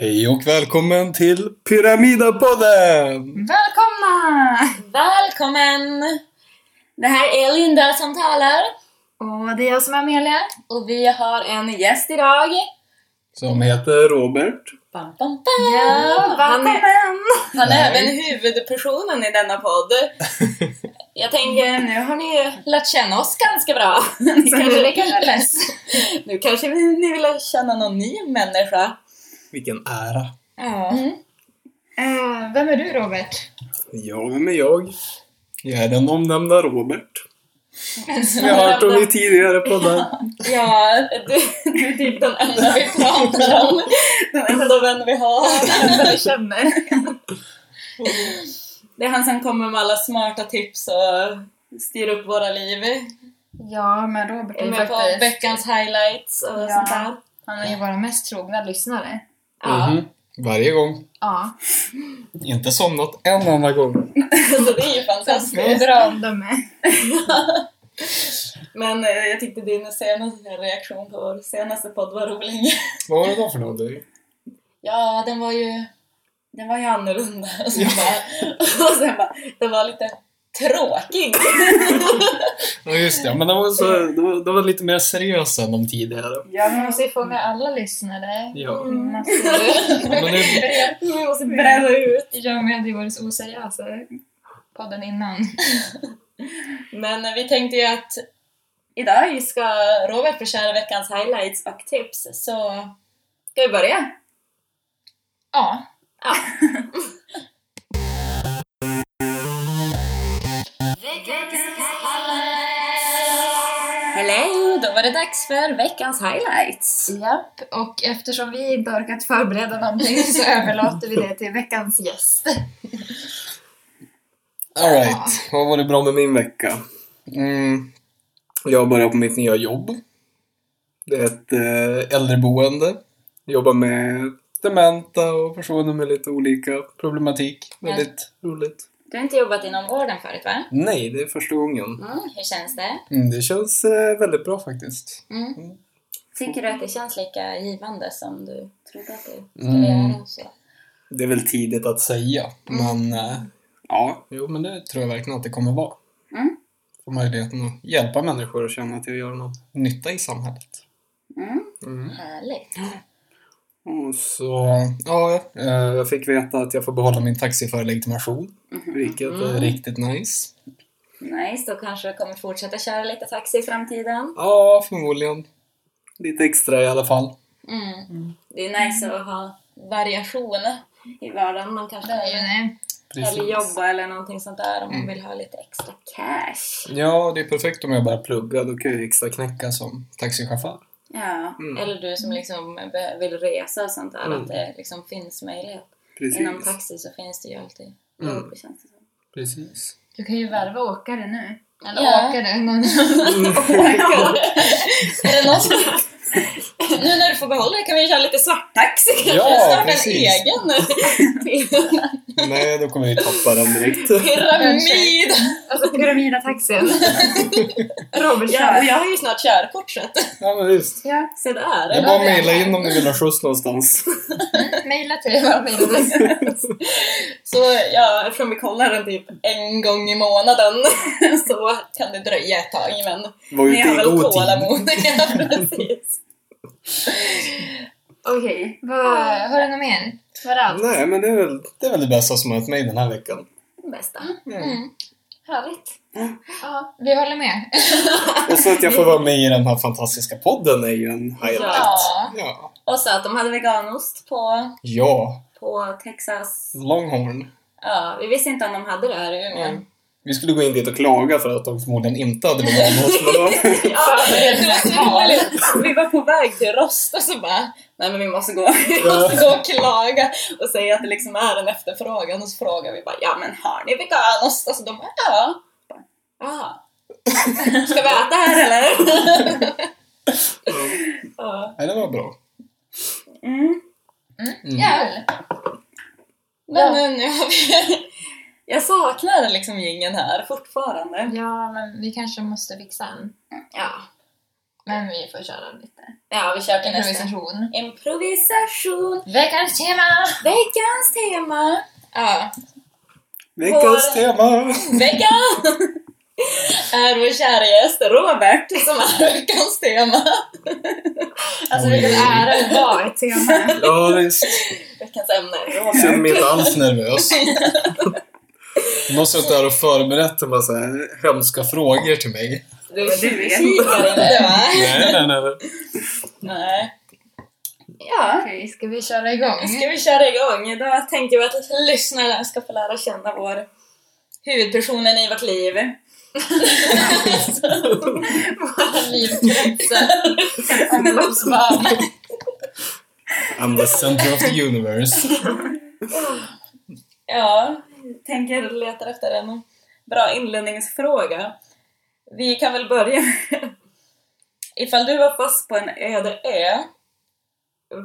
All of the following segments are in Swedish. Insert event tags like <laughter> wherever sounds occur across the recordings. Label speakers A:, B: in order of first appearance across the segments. A: Hej och välkommen till Pyramidapodden!
B: Välkomna!
C: Välkommen! Det här är Linda som talar
B: Och det är jag som är Amelia.
C: och vi har en gäst idag.
A: Som heter Robert.
C: Bam, bam, bam. han är,
B: välkommen!
C: han är
A: Nej.
C: även huvudpersonen i denna podd. Jag tänker, nu har ni lärt känna oss ganska bra. <laughs> Ni
B: Så
C: kanske,
B: nu-
C: ni kanske, nu kanske vi- ni vill lära känna någon ny människa.
A: Vilken ära!
B: Ja.
C: Mm.
B: Eh, vem är du Robert?
A: Ja, vem är jag? Jag är den omnämnda Robert. Som jag har hört om i tidigare poddar.
C: Ja, <laughs> du, du är typ den enda vi pratar om. Den enda vän vi har.
B: Vem du känner?
C: Det är han som kommer med alla smarta tips och styr upp våra liv.
B: Ja, men Robert är
C: Är
B: ju
C: med på
B: faktiskt...
C: veckans highlights och
B: Ja.
C: sånt där.
B: Han är ju våra mest trogna lyssnare.
C: Ja.
A: Mhm. Varje gång.
B: Ja.
A: Inte somnat en enda gång.
C: <laughs> Så det är ju fantastiskt.
B: Drömdöme.
C: Men eh, jag tyckte din senaste reaktion på vår senaste podd var rolig.
A: Vad var det då för någonting?
C: Ja, den var ju... Den var ju annorlunda. Och sen bara... <laughs> Och sen bara den var lite tråkig.
A: Ja, just det. Men det var, så, det var, det var lite mer seriös än de tidigare.
B: Ja, Mm. vi måste ju fånga alla lyssnare.
A: Ja.
B: Vi <laughs> måste-
A: Ja, Men det,
C: Vi måste bränna ut.
B: Ja, vi hade ju varit så oseriösa i podden innan.
C: Men eh, vi tänkte ju att idag ska Robert få köra veckans highlights och tips. Så ska vi börja?
B: Ja.
C: Ja. Eh. Hello! Då var det dags för veckans highlights.
B: Japp, och eftersom vi inte orkat förbereda någonting så överlåter vi det till veckans gäst.
A: Alright, vad var det bra med min vecka? Mm, jag börjar på mitt nya jobb. Det är ett eh, äldreboende. Jobbar med dementa och personer med lite olika problematik. Väldigt roligt.
C: Du har inte jobbat inom vården förut va?
A: Nej, det är första gången.
C: Mm, hur känns det?
A: Mm, det känns eh, väldigt bra faktiskt.
C: Mm. Tycker du att det känns lika givande som du trodde att det skulle
A: Mm.
C: göra? och Så?
A: Det är väl tidigt att säga, men eh, ja, jo, men det tror jag verkligen att det kommer vara.
C: Mm.
A: Få möjligheten att hjälpa människor och känna att jag gör något nytta i samhället. Mm.
C: Härligt.
A: Och så, ja, eh, jag fick veta att jag får behålla min taxiförarlegitimation. Vilket är
C: Mm.
A: riktigt nice.
C: Nice, då kanske du kommer fortsätta köra lite taxi i framtiden.
A: Ja, förmodligen. Lite extra i alla fall.
C: Mm. Det är nice att ha variation i vardagen. Man kanske
B: Nej.
C: eller jobba eller någonting sånt där om man
A: Mm.
C: vill ha lite extra cash.
A: Ja, det är perfekt om jag bara pluggar. Då kan jag ju extra knäcka som taxichaufför.
C: Ja.
A: Mm.
C: Eller du som liksom be- vill resa och sånt där,
A: Mm.
C: att det liksom finns möjlighet. Inom taxi så finns det ju alltid
A: Mm.
C: jobb, känns det som.
A: Precis.
B: Du kan ju värva åkare nu. Eller
C: Ja.
B: åkare. <laughs> Någon...
C: <laughs> Är det någon som... Nu när du får behålla det kan vi köra lite svarttaxi kanske?
A: Ja,
C: Starta
A: precis.
C: en egen
A: Nej, då kommer jag ju tappa
C: <laughs>
A: den direkt.
C: pyramid!
B: Alltså pyramidataxin. <laughs> Robert
C: Ja, och
B: kör.
C: jag har ju snart körkort så att...
A: Ja, men visst.
B: Ja,
C: Så där.
A: Det är bara att mejla in om ni vill ha skjuts någonstans.
B: mejla till vår mejladress.
C: Så ja, eftersom vi kollar den typ en gång i månaden <laughs> så kan det dröja ett tag men
A: Var
C: ni
A: ute
C: har
A: i
C: väl
A: god tid.
C: tålamod. <laughs> Ja, precis.
B: Okej, vad... har du något mer? Var det allt?
A: Nej, men det är, väl, det är väl det bästa som har hänt mig den här veckan. Mm.
C: Bästa.
B: Härligt. Ja, vi håller med.
A: Och så att jag får vara med i den här fantastiska podden är ju en highlight.
C: Ja.
A: Ja.
C: Och så att de hade veganost på,
A: Ja,
C: på Texas.
A: Longhorn.
C: Ja, vi visste inte om de hade det här i Umeå.
A: Mm. Vi skulle gå in dit och klaga för att de förmodligen inte hade bevarat men då-
D: <laughs>
C: Ja, det var så roligt. Vi var på väg till Rost och så bara Nej men vi måste gå, vi måste gå och klaga och säga att det liksom är en efterfrågan och så frågar vi bara Ja men har ni veganost? Alltså de bara ja Bara, Jaha <laughs> Ska vi äta här eller? Ja.
A: Nej, det var bra.
C: Mm.
A: Mm.
B: Kul!
C: Men eh, nu har vi <laughs> Jag saknar liksom gingen här fortfarande
B: Ja, men vi kanske måste fixa en.
C: Ja
B: Men vi får köra lite
C: Ja, vi kör till nästa.
B: improvisation.
C: Improvisation!
B: Veckans tema!
C: Veckans tema! Ja,
D: Veckans
C: Vår-
D: tema!
C: veckan! är vår kära gäst Robert som är veckans tema.
B: Alltså
A: Oj.
B: vilken ära att vara ett <laughs> tema.
D: Ja, visst.
C: Veckans ämne är Robert.
D: Jag känner mig inte alls
A: alls nervös. Någon har suttit där och förberett en massa hemska frågor till mig.
C: Du
B: Men
C: är
B: det vet
C: tjuvkikare du va?
A: Nej, nej, nej.
C: Nej. Ja,
B: Okej, ska vi köra igång?
C: ska vi köra igång? Idag tänker vi att lyssnarna ska få lära känna vår huvudpersonen i vårt <laughs> liv.
B: Livkretsen. Omloppsbana.
A: I'm the center of the universe.
C: Ja, tänker letar efter en bra inledningsfråga. Vi kan väl börja med- Ifall du var fast på en öde ö,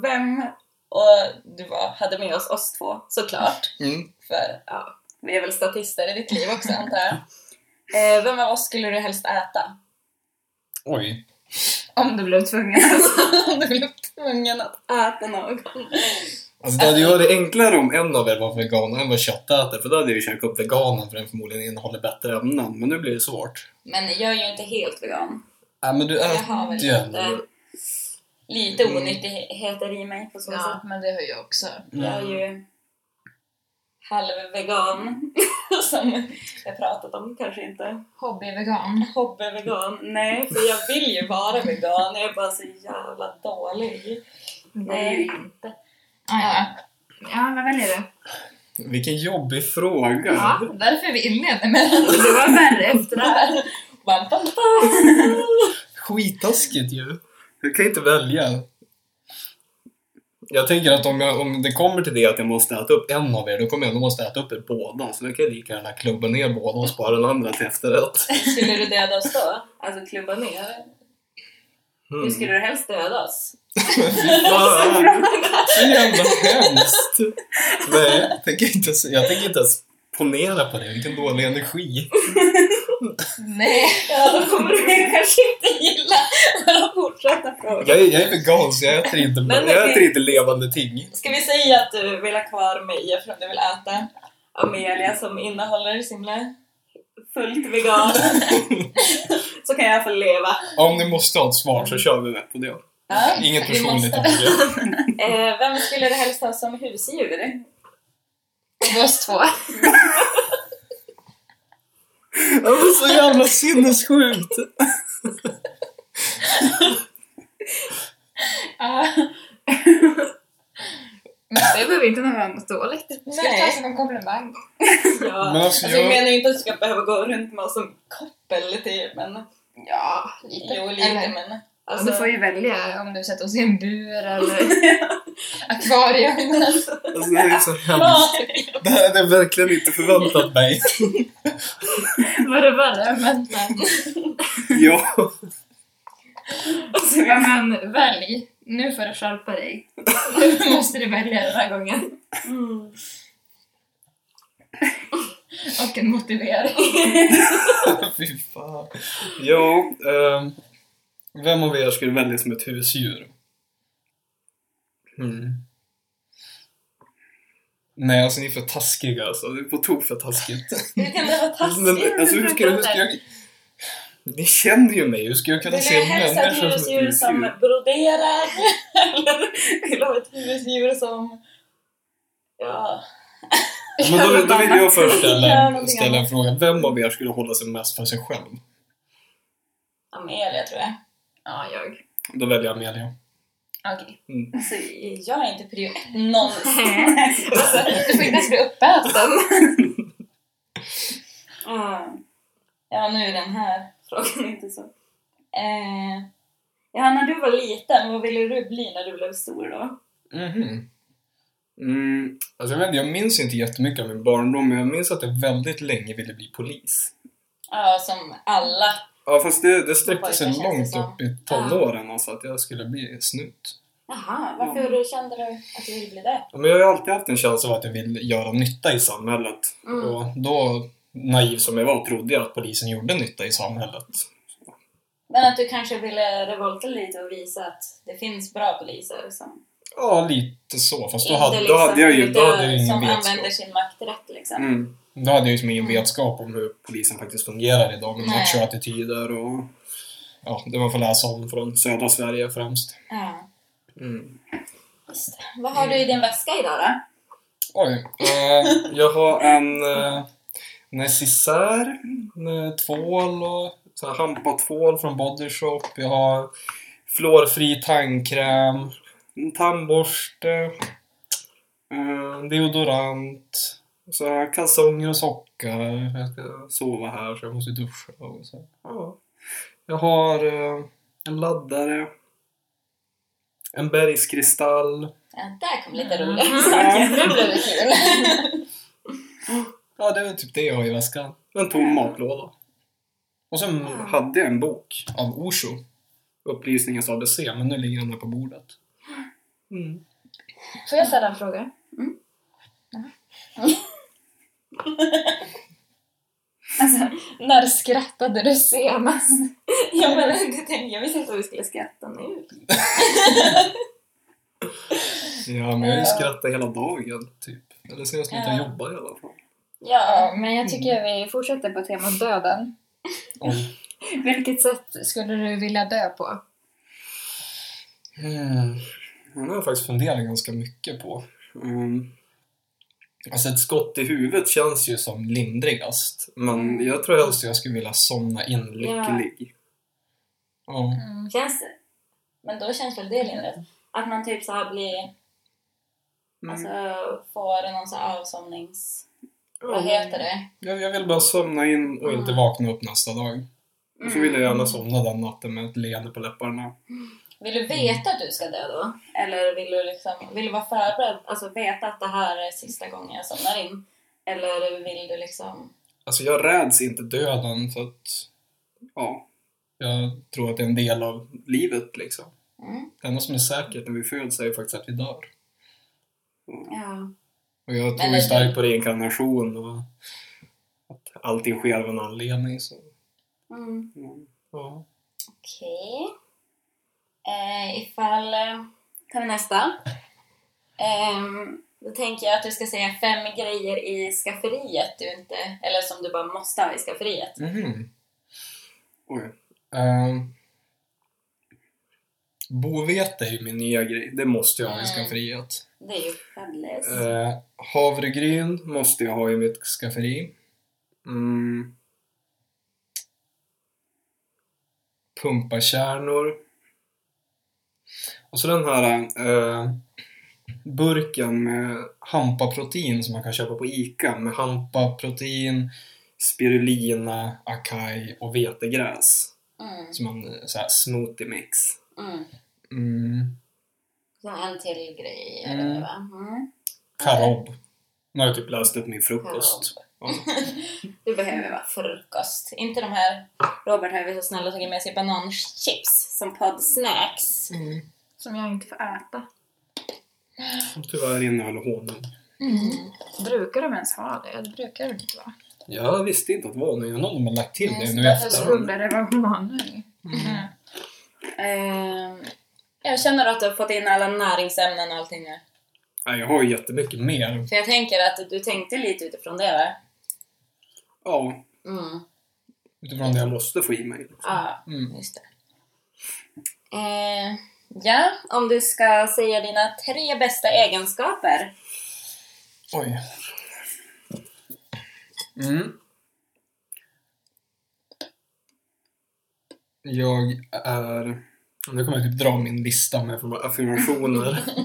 C: vem och du var, hade med oss oss två såklart,
D: Mm.
C: för ja, vi är väl statister i ditt liv också antar jag. Eh, vem av oss skulle du helst äta?
A: Oj.
B: Om du blev tvungen alltså.
C: Om du blev tvungen att äta någon.
A: Alltså, det
D: Det
A: hade
D: hade ju
C: Äh.
A: jag...
D: varit enklare om en av er var
A: var vegan och en var köttätare, för då hade jag ju käkat upp veganen för den förmodligen innehåller bättre ämnen. Men nu blir det svårt.
C: Men jag är ju inte helt vegan.
A: Nej, Äh, men du
C: Jag har
A: äter
C: väl
A: ju ändå.
C: lite, lite onyttigheter i mig på så sätt.
B: Ja, men det har jag också.
C: Jag är ju halvvegan, <laughs> som jag pratat om kanske inte.
B: Hobbyvegan.
C: Hobbyvegan. Nej, för jag vill ju vara vegan. Jag är bara så jävla dålig. Nej.
B: Ah, ja. ja, vad väljer du?
A: Mm.
D: Vilken jobbig fråga!
B: Ja, därför vi inledde med det.
C: Det var värre
B: efter det här.
C: Bam, bam, bam.
A: Skittaskigt ju.
D: Jag kan inte välja.
A: Välja. Jag tänker att om, jag, om det kommer till det att jag måste äta upp en av er, då kommer jag ändå måste äta upp er båda. Så då kan jag lika gärna klubba ner båda och spara den andra till efterrätt.
C: Skulle du döda oss då? Alltså klubba ner? Hur
A: Mm. <laughs>
C: skulle du helst döda oss? <laughs>
D: Fan,
A: Så jävla hemskt! Nej, jag tänker inte, ens- jag tänker inte ens ponera på det. Vilken dålig energi.
B: Nej.
C: Ja, då kommer du kanske inte gilla våra fortsatta frågor.
A: Jag är, jag är vegan så jag äter inte,
C: Men-
A: jag äter inte levande ting.
C: Ska vi säga att du vill ha kvar mig eftersom du vill äta Amelia som innehåller så himla fullt vegan? så kan jag få leva.
A: Om ni måste ha ett svar så
D: så
A: kör
D: kör vi med på det.
C: Ja.
A: jag. Inget
B: Vi
A: personligt
B: måste.
A: om det.
C: Eh, vem skulle du helst ha som husdjur?
B: Oss två.
D: Det var så jävla sinnessjukt!
B: Ja. Men det behöver inte vara något dåligt. Ska
C: Nej.
B: jag ta som en komplimang?
C: Ja.
A: Men alltså,
C: alltså, jag...
A: jag-
C: menar ju inte att du ska behöva gå runt med oss som koppel typ, men
B: Ja,
C: jo lite
B: Eller,
C: men Alltså-
B: Du får ju välja om du sätter oss i en bur eller <laughs> akvarium. <laughs>
D: Alltså, det är så hemskt.
C: Ja,
D: Det här hade jag verkligen inte förväntat mig.
B: Var det värre? Men,
D: Ja.
C: alltså,
B: ja, men välj. Nu får du skärpa dig. <laughs> Nu måste du välja den här gången.
C: mm.
B: Och en motivering.
A: <laughs> Fy fan.
D: Ja, ehm,
A: Vem av er skulle välja som ett husdjur?
D: mm.
A: Nej, alltså ni är för taskiga alltså.
D: alltså, det är på tok för taskigt.
C: <laughs> Hur kan det vara
D: Men,
C: taskigt?
D: alltså, hur ska, jag- hur ska jag... Ni känner ju mig,
A: Hur ska jag kunna
C: Vill
A: se
C: du helst ha ett
A: människor som ett
C: husdjur som
A: husdjur?
C: broderar? <laughs> Eller vill du ha ett husdjur som... Ja.
A: Men då, då vill jag
C: <laughs>
A: först
C: Gör
A: ställa,
C: någonting
A: ställa en
C: annat.
A: fråga. Vem av er skulle hålla sig mest för sig själv?
C: Amelia tror jag.
B: Ja, jag.
A: Då väljer jag Amelia.
B: <laughs> Okej.
C: Alltså, jag är inte prio ett någonsin. alltså,
B: Du får inte ens bli uppäten.
C: mm. <laughs> Ja, nu är den här frågan inte så. Eh, ja, när du var liten, vad ville du bli när du blev stor då?
A: Mhm.
D: Mm,
A: Alltså, jag, vet, inte, jag minns inte jättemycket av min barndom, men jag minns att jag väldigt länge ville bli polis.
C: Ja, som alla.
D: ja, fast det, det sträcker
A: Sträckte sig
C: Pojkar, känns liksom- det
A: långt
C: som.
A: upp i tonåren, alltså att jag skulle bli snut.
C: Jaha, varför kände du att du ville bli det?
A: Ja, Men jag har ju alltid haft en känsla av att jag vill göra nytta i samhället.
C: Mm.
A: Och då, naiv som jag var, trodde jag att polisen gjorde nytta i samhället.
C: Men att du kanske ville revolta lite och visa att det finns bra poliser som
A: Ja, lite så. Fast då
C: inte
A: hade,
C: liksom
A: då hade jag ju då
C: utövar-
A: hade jag ju ingen
C: som
A: vetskap.
C: använder sin makt rätt liksom.
D: Mm.
A: Då hade jag ju som ingen vetskap om hur polisen faktiskt fungerar idag med
C: Nej.
A: machoattityder och... Ja, det man får läsa om från södra Sverige främst.
C: Ja.
D: Mm.
C: Just det. Vad har du i din väska idag då?
A: Oj. Eh, jag har en eh, necessär, en eh, tvål och så här hampatvål från Body Shop. Jag har fluorfri tandkräm, en tandborste, eh, deodorant, så här kalsonger och sockar. Jag ska sova här så jag måste duscha och så. här. Ja. Jag har eh, en laddare, en bergskristall,
C: Ja, där kom lite roligare
A: Mm.
C: saker. Det blev kul.
A: Ja, det är väl typ det jag har i väskan.
D: En tom
C: Mm.
D: matlåda.
C: Ah.
A: Och sen
D: Hade jag en bok.
A: av Osho,
D: Upplysningens ABC.
A: se, men nu ligger den där på bordet.
C: Mm.
B: Får jag ställa en fråga? alltså, när skrattade du senast?
C: <laughs> Ja, men det tänkte, jag visste inte att vi skulle skratta nu.
A: Ja, men
D: Jag har ju
A: jag
D: skrattat hela dagen, typ.
A: Eller sen jag slutar
C: Ja.
A: jobba.
D: Bara i alla fall.
C: Ja,
B: Ja, men jag tycker vi fortsätter på temat döden.
A: Oj.
B: Vilket sätt skulle du vilja dö på?
A: Mm. Den har jag faktiskt funderat ganska mycket på.
D: Mm.
A: Alltså ett skott i huvudet känns ju som lindrigast.
D: Men jag tror jag
A: Helst jag skulle vilja somna in lycklig.
C: Ja.
D: är lycklig.
A: Ja.
C: känns det. Men då känns väl det lindrigt? Att man typ så här blir,
A: Mm.
C: alltså får någon så här avsomnings...
A: Mm.
C: Vad heter det?
A: Jag, jag vill bara
D: Bara
A: so-
D: somna in
A: och
D: och...
C: Mm.
A: inte vakna upp nästa dag.
D: och så vill jag
A: Gärna
D: gärna somna.
A: somna den natten med ett leende på läpparna.
C: Vill du veta att du ska dö då? Eller vill du liksom, vill du vara förberedd? Alltså veta att det här är sista gången jag somnar in? Eller vill du liksom...
D: Alltså jag räds inte dö.
A: Döden, så att
D: Ja,
A: jag tror att det är en del av...
D: livet liksom.
C: Mm.
A: Det enda som är säkert när vi föds är ju faktiskt att vi dör.
C: Ja.
A: Och jag tror
C: Men
A: ju
C: det-
A: starkt på reinkarnation och att allting sker av en anledning. Så.
C: Mm.
D: Mm.
A: Ja.
C: Okej. Eh, ifall... eh, tar vi nästa. Ehm, då tänker jag att du ska säga fem grejer i skafferiet du inte... Eller som du bara måste ha i skafferiet.
A: Mhm.
D: Oj.
A: Ehm, bovete är ju min nya grej. Det måste jag ha i
C: Mm.
A: skafferiet.
C: Det är ju fabulous.
A: Uh, havregryn måste jag ha i mitt skafferi.
D: Mm.
A: Pumpakärnor.
D: Och så den här eh, burken med
A: Hampaprotein som man kan köpa på ICA med hampaprotein, spirulina, acai och vetegräs.
C: Mm,
A: Som en så här,
D: smoothie mix.
C: mm.
A: mm,
C: Så en till grej.
A: Mm.
C: eller va? Mm.
A: Karob.
D: Nu har jag typ läst upp min frukost.
C: Du behöver vara frukost. Inte de här... Robert har ju varit så snäll och tagit med sig bananchips som poddsnacks.
B: Som jag inte får äta.
D: Som tyvärr innehöll honung.
B: Brukar de ens ha det? Det brukar det inte vara.
A: Jag visste inte att det var någon, Jag undrar om de har lagt till
C: Nej,
A: det
C: så
A: nu
C: därför
A: efter.
B: Skulle det vara honung? Mm.
C: Ehm, jag känner att du har fått in alla näringsämnen och allting nu.
A: Nej, jag har ju jättemycket mer.
C: För jag tänker att du tänkte lite utifrån det va?
D: Ja,
C: Mm.
A: Utifrån
D: jag
A: det.
D: måste få i mig.
C: Ja,
A: Mm.
B: <laughs>
C: just det. Eh, ja, om du ska säga dina tre bästa egenskaper.
A: Oj. Mm. Jag är... Nu kommer jag typ dra min lista med
D: De här affirmationer.
C: <laughs>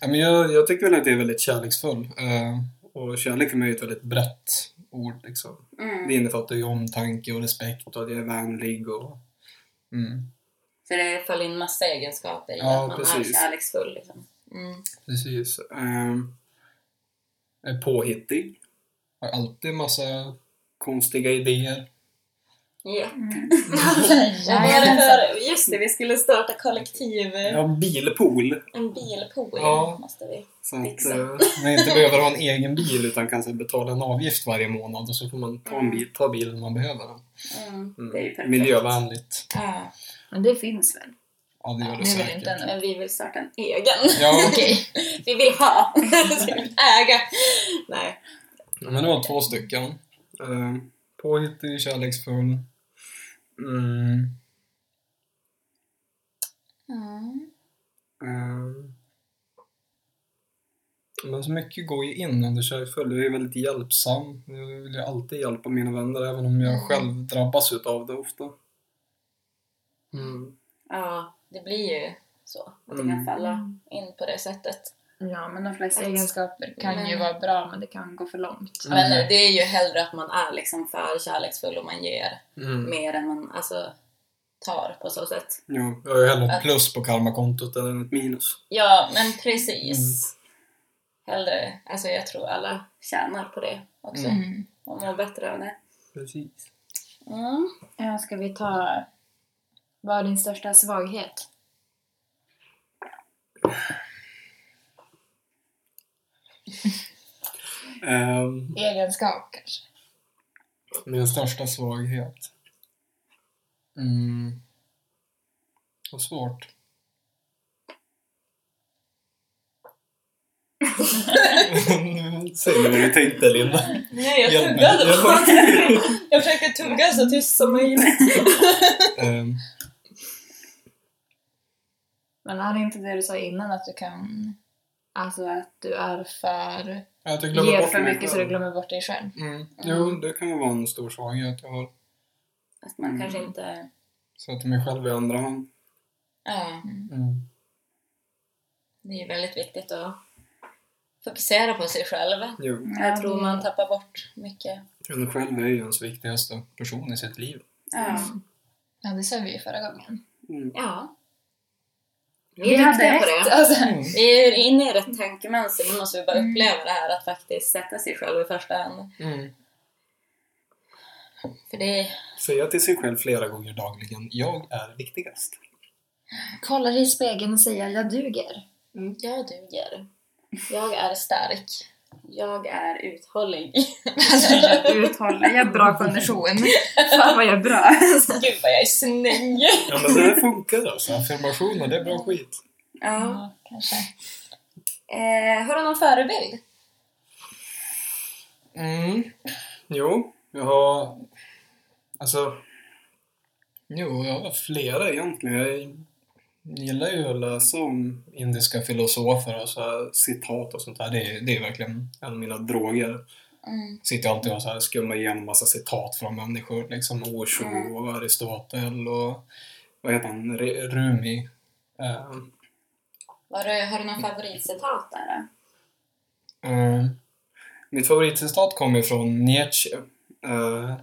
A: Nej, men jag, jag tycker väl att det är väldigt kärleksfull. eh, och kärlek för mig är ett väldigt brett ord. Liksom. Det
C: Mm.
A: innefattar ju omtanke och respekt och att jag är vänlig och... Mm.
C: Så det följer in massa egenskaper i
A: Ja,
C: att man
A: precis.
C: är kärleksfull. Liksom. Mm.
A: Precis.
D: Ehm,
A: Jag är på-
D: påhittig.
A: har alltid massa konstiga idéer.
C: Ja. Vad är det
B: Jajamensan.
C: för... Just det, vi skulle starta kollektiv...
D: Ja, bilpool.
C: En bilpool
D: Ja.
C: måste vi.
D: Så att
C: Exakt.
D: eh, man inte behöver ha en egen bil utan kan så här, betala en avgift varje månad och så får man ta, en bil, ta bilen man behöver. den.
C: Mm. Det är ju
D: Mm.
C: perfekt.
D: Miljövänligt.
C: Ja.
B: Men det finns väl?
A: Ja, det gör det
B: Nu vill inte
A: säkert.
B: ännu.
C: Men vi vill starta en egen.
A: Ja,
B: <laughs> Okej.
C: Vi vill ha! <laughs> vi vill äga! Nej.
A: men det var två stycken.
D: Eh,
A: Påhittig, Ehm, kärleksfull.
D: mm,
C: Mm.
A: Ehm.
D: eh,
A: Men så mycket går ju in under kärleksfull. Jag är väldigt hjälpsam. Jag vill ju alltid hjälpa mina vänner även om jag själv drabbas utav det ofta.
D: mm,
C: Ja, det blir ju så. Att det
D: Mm.
C: kan falla in på det sättet.
B: Ja, men de flesta egenskaper kan ju
C: Men-
B: vara bra, men det kan gå för långt.
D: Mm.
C: Men det är ju hellre att man är liksom för kärleksfull och man ger
D: mm.
C: mer än man alltså, tar på så sätt.
D: Ja,
A: Jag har ju hellre ett plus på karmakontot än ett
D: minus.
C: Ja, men precis.
D: Mm.
C: Hellre, alltså jag tror alla tjänar på det också.
B: Mm.
C: Och mår bättre av det.
D: Precis.
C: Mm.
B: Ja, ska vi ta... Vad är din största svaghet?
D: Ehm,
B: Egenskap kanske?
A: Min största svaghet? Mm. Vad svårt.
D: Säg vad du tänkte Linda.
C: Nej, jag
A: Hjälp mig.
C: tuggade bara. <laughs> Jag försöker tugga så tyst som möjligt.
A: Ehm,
B: Men är det inte det du sa innan att du kan... Alltså att du är för...
A: att jag glömmer
B: Ger
A: bort
B: för
A: mig
B: mycket så du
A: själv.
B: glömmer bort dig själv.
A: Mm. Jo, det kan ju vara en stor svaghet jag har.
C: Att man kanske inte...
A: Sätter mig själv i andra hand.
C: Ja,
A: Mm.
C: det är ju väldigt viktigt att fokusera på sig själv.
D: Jo.
C: Jag tror man tappar bort mycket.
D: En själv är ju ens viktig.
A: Viktigaste person i sitt liv.
C: Ja.
B: Ja, det sa vi ju förra gången.
D: Mm.
C: ja.
B: Vi hade rätt! <laughs> Alltså.
C: Vi är inne i rätt tankemönster, nu måste vi bara uppleva det här att faktiskt sätta sig själv i första hand.
A: Mm.
C: För det är...
D: Säga till sig själv flera gånger dagligen, jag är viktigast.
B: Kolla dig i spegeln och säga jag duger.
C: Jag duger. Jag är stark. Jag är uthållig. <laughs>
B: Alltså, jag <laughs> uthåller, jag har bra kondition. Fan vad jag är bra.
C: Gud vad jag är <laughs> snäll!
D: Ja men det där funkar alltså.
A: Så affirmationer, det är bra skit.
C: Ja.
B: kanske.
C: Eh, har du någon förebild?
A: Mm. Jo, jag har... Alltså... Jo, jag har flera egentligen. Jag gillar ju att läsa om indiska filosofer och så här, citat och sånt där. Det är, det är verkligen en av mina droger.
C: Mm.
A: Sitter alltid och så här skummar igenom massa citat från människor. Liksom Osho och Aristotel och
D: Vad heter han? Re-
A: Re- Rumi. Eh,
C: Har du, har du någon favoritcitat där? då?
A: Eh, mitt favoritcitat kommer från Nietzsche. Eh,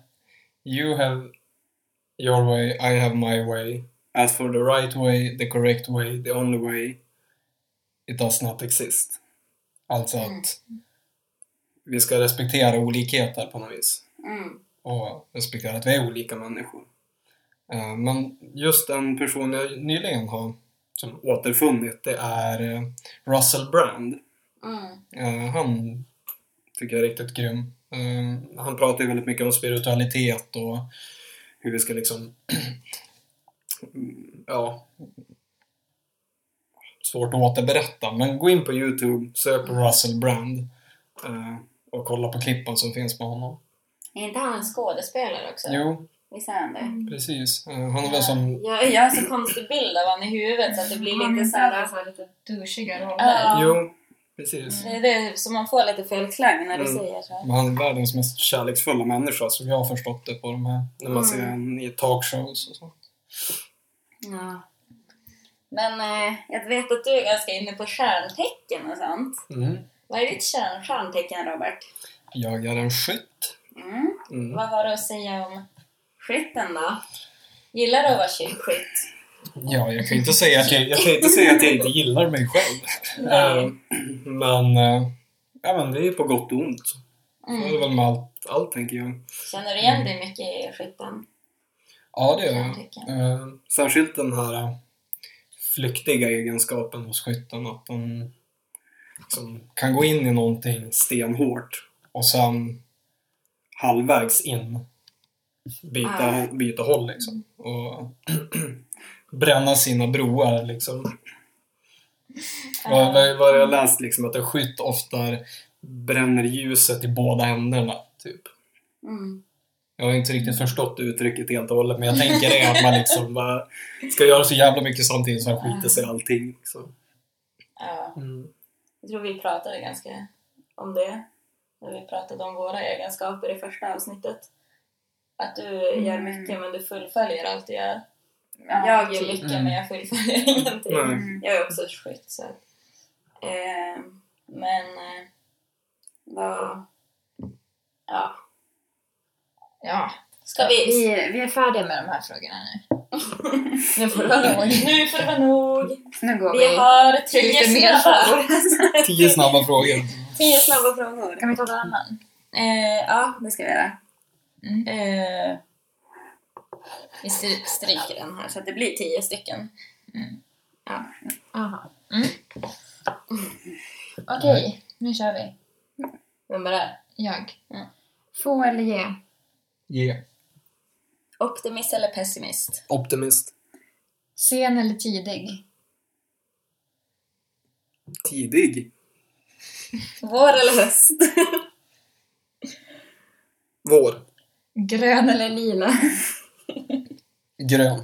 A: you have your way, I have my way. As for the right way, the correct way, the only way, it does not exist. Alltså
C: Mm.
A: att vi ska respektera olikheter på något vis.
C: Mm.
A: Och respektera att vi är olika människor. Eh, men just den person jag nyligen har som återfunnit, det är eh, Russell Brand.
C: Mm.
A: Eh, han tycker jag är riktigt grym. Eh, han pratar ju väldigt mycket om spiritualitet och hur vi ska liksom... <clears throat> Mm, ja... Svårt att återberätta, men gå in på Youtube, sök på Russell Brand eh, och kolla på klippen som finns med honom.
C: Är inte han en skådespelare också?
A: Jo,
C: Visst är han det?
A: precis. Eh, han är väl som...
C: Jag, jag har så konstig bild av honom i huvudet så att det blir lite såhär...
B: så här lite douchiga roller.
C: Ja.
A: Jo, precis.
C: Det är det som man får lite felklang när du
D: Mm.
C: säger så.
A: Men han är världens mest
D: Kärleksfulla människa.
A: som jag har förstått det på de här,
D: När man
C: Mm.
D: ser en i ett tag.
A: talkshows och så.
C: Ja. Men eh, jag vet att du är ganska inne på stjärntecken och sånt.
A: Mm.
C: Vad är ditt stjärn- stjärntecken, Robert?
A: Jag är en skytt.
C: Mm.
D: Mm.
C: Vad har du att säga om skytten då? Gillar du att vara skytt? skytt?
A: Ja, jag kan ju inte säga att jag, jag kan ju
D: Inte
A: inte
D: säga att
A: säga
D: jag
A: att jag
D: inte...
A: inte gillar mig själv.
C: Nej.
A: Eh, men, eh,
D: Ja men det är ju på gott och ont.
A: det är
C: Mm.
A: väl med allt.
D: Allt tänker jag.
C: Känner du igen dig mycket i skytten?
A: Ja, det gör
B: kan jag
A: jag.
B: tycka.
A: Eh, Särskilt den här eh, flyktiga egenskapen hos skytten. Att de liksom kan gå in i någonting
D: Stenhårt.
A: och sen halvvägs in byta,
B: Ah.
A: byta håll liksom. Och <clears throat> bränna sina broar
B: <laughs>
A: liksom. Vad, vad, vad har jag läst liksom? Att en skytt ofta bränner ljuset i båda händerna. Typ.
C: Mm.
A: Jag har inte riktigt förstått uttrycket helt och hållet, men jag tänker det att man liksom bara ska göra så jävla mycket samtidigt så man skiter sig i allting. Liksom.
C: Ja.
D: Mm.
C: Jag tror vi pratade ganska om det när vi pratade om våra egenskaper i första avsnittet. Att du
B: Mm.
C: gör mycket men du fullföljer allt du gör.
B: Ja,
C: jag gör
B: typ.
C: mycket
A: Mm.
C: men jag fullföljer <laughs> ingenting.
A: Nej.
D: <laughs>
C: Jag är också ett skytt så att, eh, Men eh, vad... Ja.
B: Ja.
C: Ska vi...
B: Vi, vi är färdiga med de här frågorna nu. nu får
C: <laughs>
B: det vara nog.
C: Nu får det vara nog!
B: Nu går vi.
C: Vi har
B: till
C: tio
B: lite mer
C: snabba,
B: frågor.
A: Tio snabba frågor.
C: <laughs> tio snabba frågor.
B: Kan vi ta någon annan?
C: Eh, ja, det ska vi göra.
B: Mm.
C: Eh,
B: Vi stry- stryker.
C: stryker den här så att det blir tio stycken.
B: Aha. Mm. Okej, nu kör vi. Mm.
C: Vem är det?
B: Jag.
C: Ja.
B: Få eller ge?
A: Yeah.
C: Optimist eller pessimist?
D: Optimist.
B: Sen eller tidig?
D: Tidig.
C: Vår eller höst?
D: Vår.
B: Grön eller lila?
A: Grön.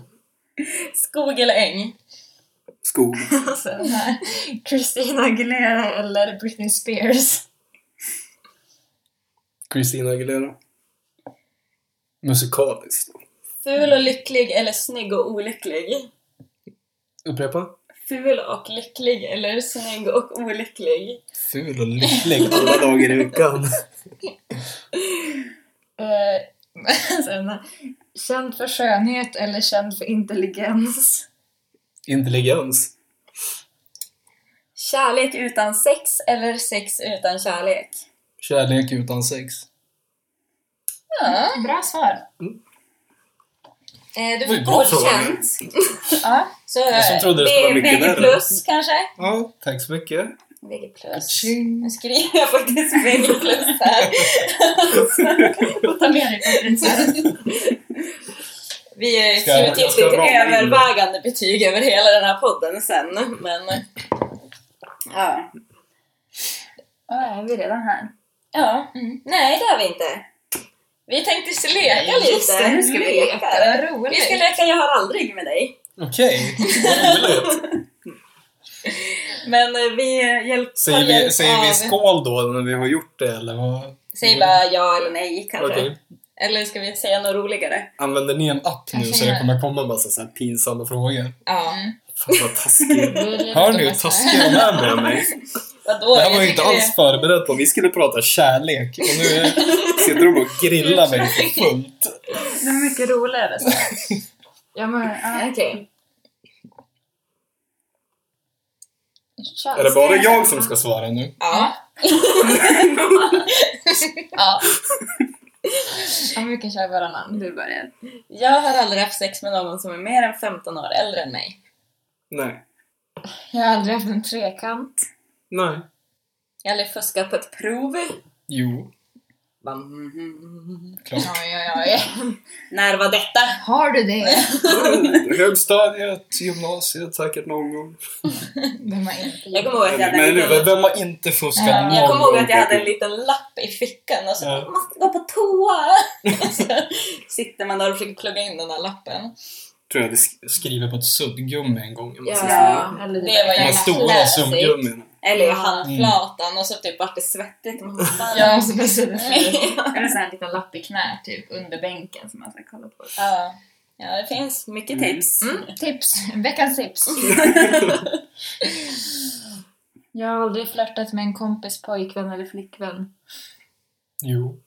C: Skog eller äng?
D: Skog.
B: Alltså den <laughs> här. Christina Aguilera eller Britney Spears?
D: Christina Aguilera. Musikaliskt.
C: Ful och lycklig eller snygg och olycklig?
D: Upprepa.
C: Ful och lycklig eller snygg och olycklig?
A: Ful och lycklig.
D: Alla dagar i veckan.
B: Eh, alltså den här. <laughs> Känd för skönhet eller känd för intelligens?
D: Intelligens.
C: Kärlek utan sex eller sex utan kärlek?
A: Kärlek utan sex.
C: Ja,
B: Bra svar.
C: eh, du
A: Oj,
C: fick
A: bra fråga.
C: godkänt.
B: Ja.
C: Så
A: Jag som trodde det
C: det
A: skulle vara
C: är
A: mycket
C: VG
A: värre.
C: plus kanske?
A: Ja, tack så mycket.
C: VG plus.
A: Tjing.
C: Nu skriver jag faktiskt VG plus här.
B: Får ta med dig <laughs> konferensen.
C: Vi
A: Ska jag-
C: skriver till
A: jag ska
C: ett
A: rama in.
C: övervägande betyg över hela den här podden sen, men... Ja.
B: Ja, är vi redan här?
C: ja.
B: Mm.
C: Nej, det har vi inte. Vi tänkte leka
B: Just
C: lite.
B: det, nu ska vi leka. Vad roligt.
C: Vi ska leka Jag har aldrig med dig.
A: Okej, vad roligt.
C: Men eh, vi hjälper
A: Säger vi, säger vi skål då när vi har gjort det eller vad?
C: Säg bara ja eller nej kanske.
A: Okej.
C: Eller ska vi säga något roligare?
A: Använder ni en app nu
B: Kanske
A: så det
B: jag-
A: kommer komma en massa så här pinsamma frågor?
C: Ja.
D: Fan
B: <laughs>
D: vad taskig.
A: Hör ni hur taskig de är med mig?
C: Vadå?
A: Det här
C: Jag
A: var ju inte
C: tycker
A: alls förberett på. Vi skulle prata kärlek och nu <laughs> är- sitter de och grillar mig för fullt.
B: Det är mycket roligare. Så. Ja, men,
C: det-
B: ja.
C: Okej.
B: Kör.
A: Är det bara jag som ska svara nu?
C: Ja.
B: Ja. ja, men vi kan köra varannan. Du börjar.
C: Jag har aldrig haft sex med någon som är mer än 15 år äldre än mig.
D: Nej.
B: Jag har aldrig haft en trekant.
A: Nej.
C: Jag har aldrig fuskat på ett prov.
A: Jo,
C: Bam.
A: klart.
B: Oj, oj, oj.
C: När var detta?
B: Har du det?
A: <laughs> Högstadiet, gymnasiet säkert någon gång.
B: Den var inte
C: Jag kommer ihåg att jag hade
A: Men
C: en liten-
A: nu, vem har inte fuskat
B: Ja.
A: någon
C: Jag kommer ihåg att jag
A: gång?
C: hade en liten lapp i fickan och så
A: Ja.
C: måste gå på
A: <laughs>
C: toa! så sitter man där och försöker plugga in den där lappen.
A: tror jag hade sk- skrivit på ett suddgummi en gång. Alltså, om man säger så.
C: Ja,
B: eller
C: det
B: det.
C: var
A: De här
C: jävla
A: stora
C: classic.
A: suddgummina.
C: Eller i
B: Ja.
C: handflatan och så typ vart det svettigt. Man bara, fan. <laughs>
B: Ja, och så bara så där.
C: Ja.
B: <laughs> Eller så här en liten lapp i knä typ under bänken som man ska kolla på.
C: ja. ja, det finns mycket
D: Mm.
C: tips.
B: Mm, tips! Veckans tips! <laughs> jag har aldrig flörtat med en kompis pojkvän eller flickvän.
A: Jo.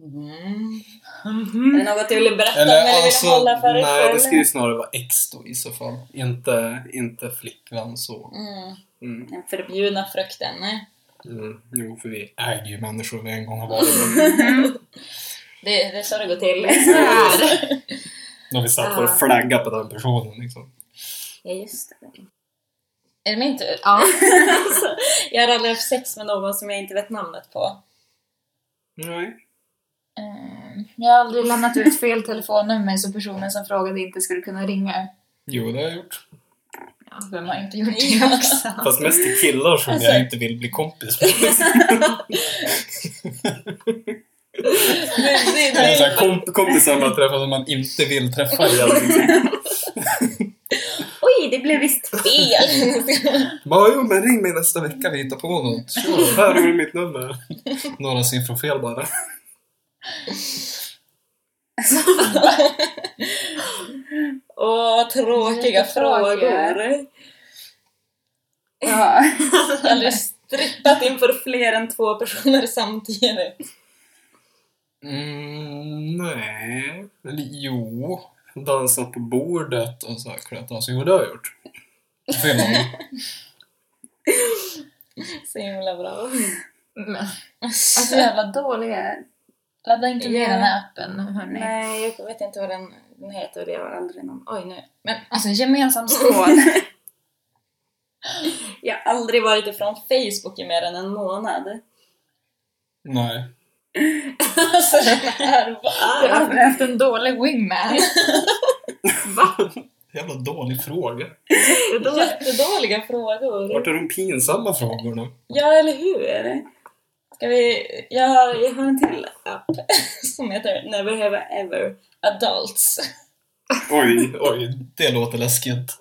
C: Är det något du vill berätta om
A: Eller
C: eller vill
A: alltså,
C: hålla för dig
A: nej det
C: själv?
A: skulle ju snarare vara ex då i så fall. Inte, inte flickvän så.
C: Mm.
D: Mm.
C: Den förbjudna frukten. nej.
D: Mm. Jo, för vi...
A: Äger ju människor vi en gång har varit med.
C: Det, det är så det går till.
B: Här.
A: Då vi satt
B: Ah.
A: vår flagga på den personen liksom.
C: <laughs> Ja, just det. Är det min tur? <laughs>
B: Ja.
C: Alltså, jag hade aldrig haft sex med någon som jag inte vet namnet på.
A: Nej.
B: Mm. Eh, Jag har aldrig lämnat ut fel telefonnummer så personen som frågade inte skulle kunna ringa.
A: Jo, det har jag gjort.
B: Ja, vem har inte gjort det också?
A: Fast mest till killar som
C: Alltså-
A: jag inte vill bli kompis med.
C: Det, det,
A: Det är så här
C: det.
A: komp- kompisar man träffar som man inte vill träffa igen. Liksom.
C: Oj, det blev visst fel! <laughs>
A: Bara, jo, men ring mig nästa vecka, vi hittar på något. Sure, här har du mitt nummer. Några siffror fel bara.
C: Åh, vad tråkiga
B: Jättefrågor.
C: frågor.
B: Ja.
C: Jag har aldrig strippat inför fler än två personer samtidigt.
A: Mm, nej. Eller jo. Dansat på bordet och så här klätt av sig. Jo, det har jag gjort. Fel man.
C: Så himla bra.
B: Men, alltså jävla dåliga. Ladda inte ner
C: Ja.
B: den här appen hörni.
C: Nej, jag vet inte vad den, den heter. Det var aldrig någon... Oj, nu. Men
B: Alltså <laughs> gemensam skål.
C: jag har aldrig varit ifrån Facebook i mer än en månad.
A: Nej.
C: Alltså, den här, vad
B: Jag
C: är
B: har aldrig haft en dålig wingman. <laughs>
D: Va?
A: Jävla dålig fråga.
C: det? Jättedåliga frågor.
A: Vart är de pinsamma frågorna?
C: Ja, eller hur? Ska vi... Jag har, jag har en till app <laughs> som heter Never Have Ever Adults.
A: Oj, oj. Det låter läskigt.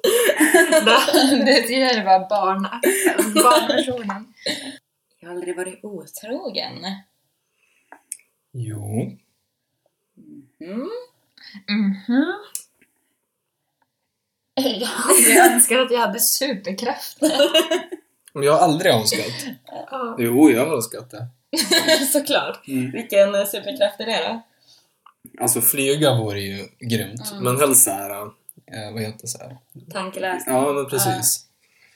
B: Det tidigare var barnappen. Barnversionen.
C: Jag har aldrig varit otrogen.
A: Jo.
C: Mm.
B: Mhm. Jag önskar att jag hade superkrafter.
A: Men jag har aldrig önskat.
B: Ja.
D: Jo, jag har önskat det.
C: <laughs> Såklart.
D: Mm.
C: Vilken eh, superkraft är det då?
D: Alltså flyg,
A: Flyga vore ju grymt.
D: men helst såhär.
A: Eh, vad heter det så här?
C: Tankelös.
D: Ja, men precis.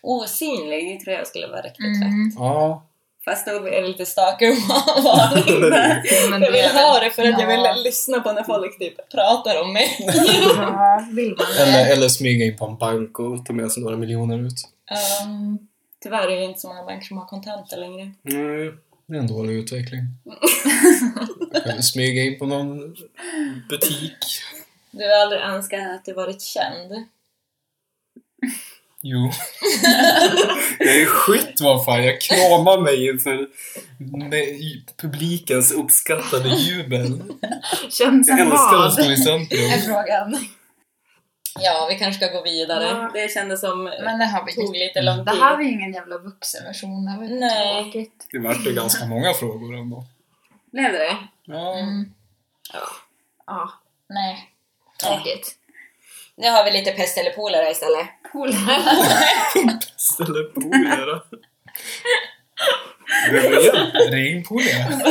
C: Osynlig tror jag skulle vara riktigt lätt.
B: Mm.
A: Ja.
C: Fast då är det lite
D: <laughs>
C: stalker-varning där.
B: Men
C: Jag vill ha det för att jag
B: Ja.
C: vill lyssna på när folk typ pratar om <laughs> mig.
B: Ja, vill man det?
A: Eller, eller smyga in på en bank.
D: Bank och ta med sig några miljoner ut.
C: Ja,
B: Mm.
C: Ehm, tyvärr är det inte så många banker som har kontanter längre.
D: Nej.
A: Det är en dålig utveckling. Kan smyga in på någon butik.
C: Du har aldrig önskat att du varit känd.
A: Jo. jag är skit vad fan. Jag kramar mig inför med- publikens uppskattade jubel.
B: Känns
A: Jag
B: en
A: älskar att
B: vad?
A: stå i centrum.
B: Är frågan.
C: Ja, vi kanske ska gå vidare.
B: Ja.
C: Det kändes som
B: Men det har vi
C: tog lite lång tid.
B: Det här var ju ingen jävla vuxenversion. Det var ju
C: Nej.
B: tråkigt.
A: Det vart ju ganska många frågor ändå.
C: Blev det det?
A: Ja.
B: Mm.
C: Ja.
B: Ja. Nej. Tråkigt.
C: Nu har vi lite pest eller polare istället.
B: Polare.
D: Ställer polare. Behöver du hjälp?
A: Ring på det.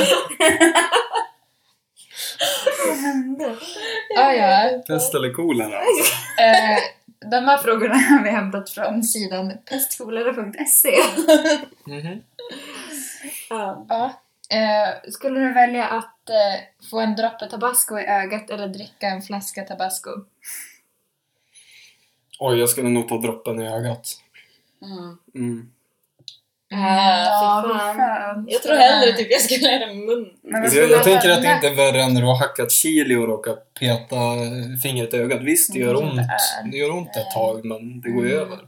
B: ja, ja.
D: Pest eller kolera?
B: Eh, de här frågorna <laughs> har vi hämtat från sidan pestkolera.se.
A: Mhm.
C: Ja.
B: Ja. Eh, skulle du välja att eh, få en droppe tabasco i ögat eller dricka en flaska tabasco?
D: Oj, jag skulle nog ta droppen i ögat.
C: Mm.
D: Mm.
B: Eh, Mm.
C: Ja, fy fan. Jag tror hellre typ jag skulle ha det i munnen.
B: Men vad
D: Alltså, jag,
B: skulle
D: jag tänker
B: hända?
D: att det inte är värre än när du har hackat chili och råkat peta fingret i ögat. Visst, det gör
B: Mm,
D: ont.
B: det är-
D: Det gör ont ett tag, men det går ju
B: Mm.
D: över.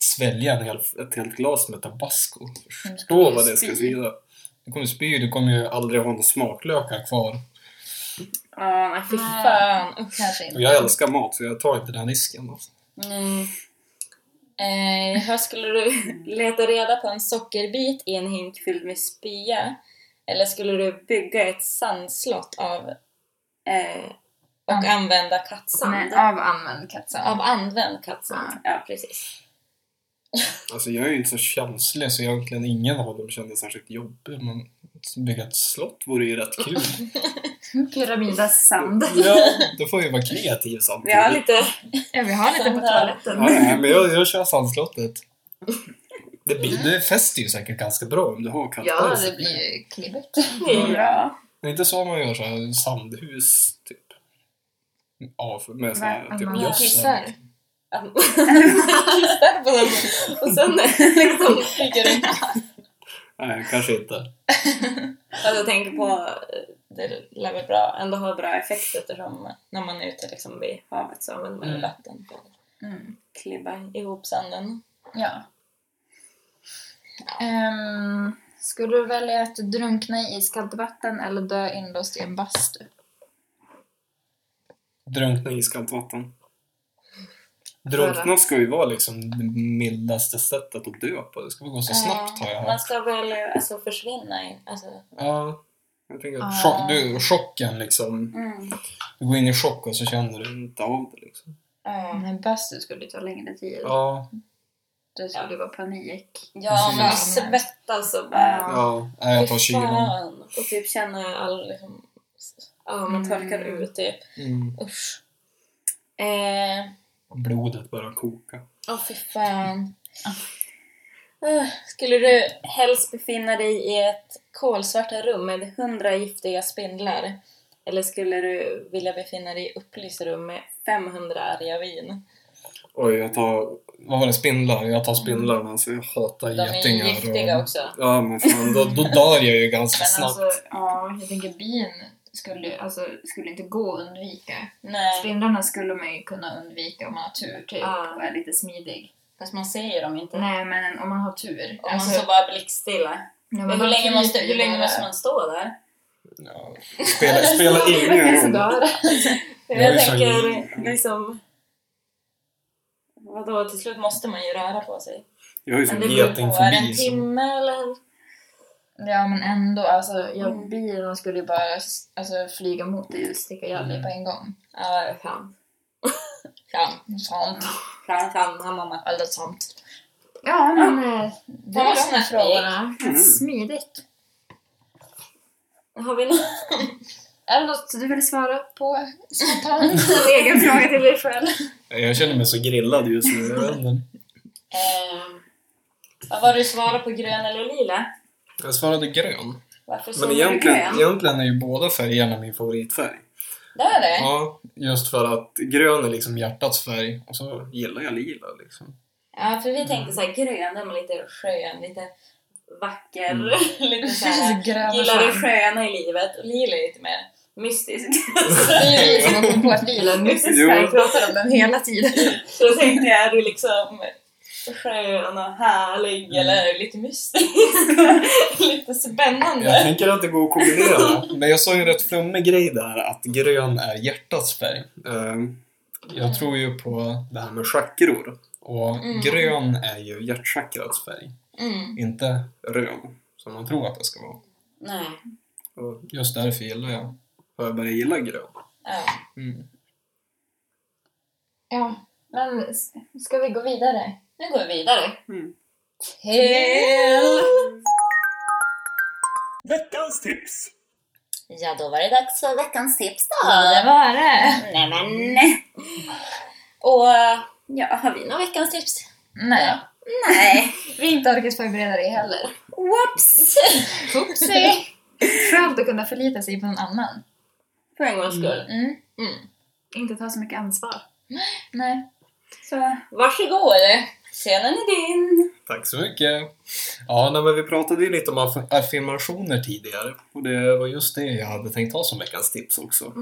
D: Svälja en hel, ett helt glas med tabasco. Förstå vad det ska svida.
A: Du kommer spy, du kommer ju aldrig
D: Aldrig ha någon smaklök.
A: lökar kvar.
C: Ja, nej fy
B: Nej.
C: fan. Usch.
B: Kanske inte.
D: Och jag älskar mat, så jag tar
A: Inte
D: inte det.
A: den risken. Alltså.
C: Mm. Eh, här skulle du <laughs> leta reda på en sockerbit i en hink fylld med spya? Eller skulle du bygga ett sandslott av eh, och
B: Mm.
C: använda kattsand?
B: Nej, av använd kattsand.
C: Av använd kattsand, ja precis.
D: Alltså, jag är ju inte så känslig.
A: Känslig, så egentligen ingen av dem kändes särskilt jobbig. Men att bygga ett slott vore ju rätt kul.
B: Pyramidas Mm, sand.
A: ja, då får
D: Jag
A: vi
D: var
A: vara
D: kreativ samtidigt.
C: Vi har lite...
B: Ja, vi har lite på
C: Sand här.
B: toaletten.
D: Ja,
A: Nej,
B: <laughs>
D: nej,
A: men jag, jag kör sandslottet. Det, blir, det fäster ju säkert ganska bra.
D: Bra om du har katter.
B: Ja, det blir ju klibbigt.
C: Ja.
A: Det är inte så man gör så här sandhus, typ. Ja, för- med sån här
B: Va?
A: typ
B: Att man
A: gödsel.
B: kissar?
C: <laughs> Kissar på den och sen liksom flyger runt.
A: Nej, kanske inte.
C: Alltså jag tänker på, eh, det lär väl bra, ändå ha bra effekt eftersom när man är ute liksom vid havet så använder man ju
E: Mm.
C: vatten för att
B: Mm.
C: klibba ihop sanden.
B: Ja. Ehm, skulle du välja att drunkna i iskallt vatten eller dö inlåst i en bastu?
A: Drunkna i iskallt vatten.
C: För
A: Drunkna ska ju vara liksom det mildaste sättet att dö på. Det ska väl gå så snabbt har jag
C: Man
E: hört.
C: ska väl eh, alltså, försvinna i, alltså,
A: Ja, jag tänker att
B: Ah.
A: chock, du, chocken liksom.
B: Mm.
A: Du går in i chock och så känner du inte av det liksom.
C: Eh,
B: Men bastu skulle ju ta längre tid.
E: Ja,
B: Det skulle vara panik.
C: Ja, men
B: Mm.
C: svettas och
B: Ja.
C: bara...
A: Ja, nej, Alltså, jag tar
C: Fy
A: kylan.
C: fan. Och typ känna all... Liksom, ja, man torkar
B: Mm.
C: ut det.
A: Mm.
C: Usch. Eh,
A: Blodet börjar koka.
C: Åh fy fan. Eh, Skulle du helst befinna dig i ett kolsvarta rum med hundra giftiga spindlar? Eller skulle du vilja befinna dig i upplyst rum med 500 arga vin?
A: Oj, jag tar... Vad var det? Spindlar? Jag tar spindlarna, alltså jag hatar
C: De är ju
A: getingar.
C: giftiga också.
A: Ja, men fan, då, då <laughs> dör jag ju ganska
C: Men
A: snabbt.
C: alltså,
B: Ja, jag tänker bin skulle, alltså, skulle inte gå att undvika.
C: nej.
B: Spindlarna skulle man ju kunna undvika om man har tur typ
C: Ja.
B: och är lite smidig.
C: Fast man ser ju dem inte.
B: Nej men om man har tur.
C: Om man
B: Alltså,
C: står bara blickstilla.
B: när man
C: Men hur
B: har
C: länge,
B: tur
C: måste,
B: är det
C: hur länge
B: bara-
C: måste man stå där?
A: Ja, spelar,
C: <laughs>
A: spelar ingen
B: Kanske
A: roll.
B: dör.
A: Jag
C: Jag,
A: är så-
C: tänker liksom... Vadå, till slut måste man ju röra på sig.
A: Jag har ju
C: Men
A: sån
C: det beror på, är det en
A: getingfobi. så-
C: timme eller?
B: Ja men ändå, alltså jag,
C: Mm.
B: bilarna skulle ju bara alltså, flyga mot dig och sticka ihjäl dig på en gång.
C: Ja, fan.
B: Ja, sånt.
C: Fan, fan, han mamma.
B: Väldigt sånt. Ja men eh, det var de här
C: snyggt.
B: frågorna.
A: Mm.
B: Smidigt.
C: Har vi någon
B: Är det något du vill svara <laughs> på spontant? egen fråga till dig själv.
A: Jag känner mig så grillad just nu. Jag vet inte.
C: Eh, vad var det du svarade på, grön eller lila?
A: Jag svarade grön.
C: Varför såg
A: Men
C: du
A: egentligen,
C: grön?
A: egentligen är ju båda färgerna min favoritfärg.
C: Det är det?
A: Ja, just för att grön är liksom hjärtats färg och så gillar jag lila liksom.
C: Ja, för vi tänkte såhär, grön, den var lite skön, lite vacker,
A: Mm.
C: <laughs> lite såhär,
B: Gröna
C: gillar det
B: skön.
C: sköna i livet. Och lila är lite mer <laughs> mystisk.
B: Det är ju vi som har kommit på att bilen är en mystisk
A: Jo.
B: färg, pratar om den hela tiden.
C: Så då tänkte jag, är du liksom skön och härlig eller lite mystisk? lite
A: Jag
C: spännande?
A: tänker att det går att kombinera. Men jag sa ju en rätt flummig grej där, att grön är hjärtats färg. Eh, Jag tror ju på det här med chakror. Och
C: Mm.
A: grön är ju hjärtchakrats färg,
C: Mm.
A: inte röd som man tror att det ska vara.
C: Nej.
A: Och just därför gillar jag, har jag börjat gilla grön.
C: Ja.
A: Mm.
B: Ja, men s- ska vi gå vidare?
C: Nu går vi vidare.
B: Till...
F: Veckans tips!
C: Ja, då var det dags för veckans tips då!
B: var det!
C: Nej men! nej. <laughs> Och ja, har vi några veckans tips?
B: Nej,
C: Nej!
B: vi har inte orkat förbereda det heller.
C: Whoops!
B: Oopsie! Skönt att kunna förlita sig på någon annan.
C: För en gångs skull.
B: Mm.
C: Mm.
B: Inte ta så mycket ansvar. Nej.
C: Så varsågod! Scenen är din!
A: Tack så mycket! Ja, nej, men vi pratade ju lite om aff- affirmationer tidigare och det var just det jag hade tänkt ha som veckans tips också.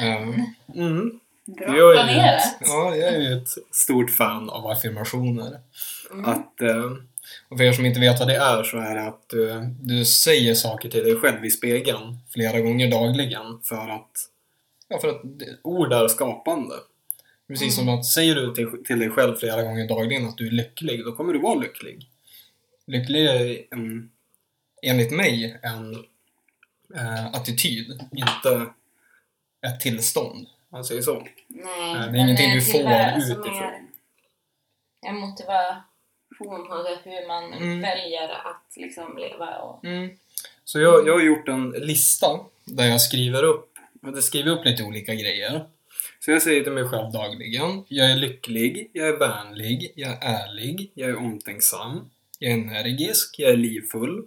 A: Eh, Mm. Jag är, ju ett,
C: planerat.
A: ja, jag är ju ett stort fan av affirmationer.
C: Mm.
A: Att, eh, och för er som inte vet vad det är så är det att eh, du säger saker till dig själv i spegeln flera gånger dagligen för att, ja, för att det- ord är skapande. Precis
C: Mm.
A: som att säger du till, till dig själv flera gånger dagligen att du är lycklig, då kommer du vara lycklig. Lycklig är en, enligt mig en eh, attityd, inte ett tillstånd. Man säger så.
C: Nej,
A: det är
C: men
A: ingenting du
C: tillvaro
A: får
C: som
A: utifrån.
C: är En motivation på det, hur man
A: Mm.
C: väljer att liksom leva och...
A: Så jag, jag har gjort en lista där jag skriver upp, jag skriver upp lite olika grejer. Så jag säger till mig själv dagligen, jag är lycklig, jag är vänlig, jag är ärlig, jag är omtänksam, jag är energisk, jag är livfull,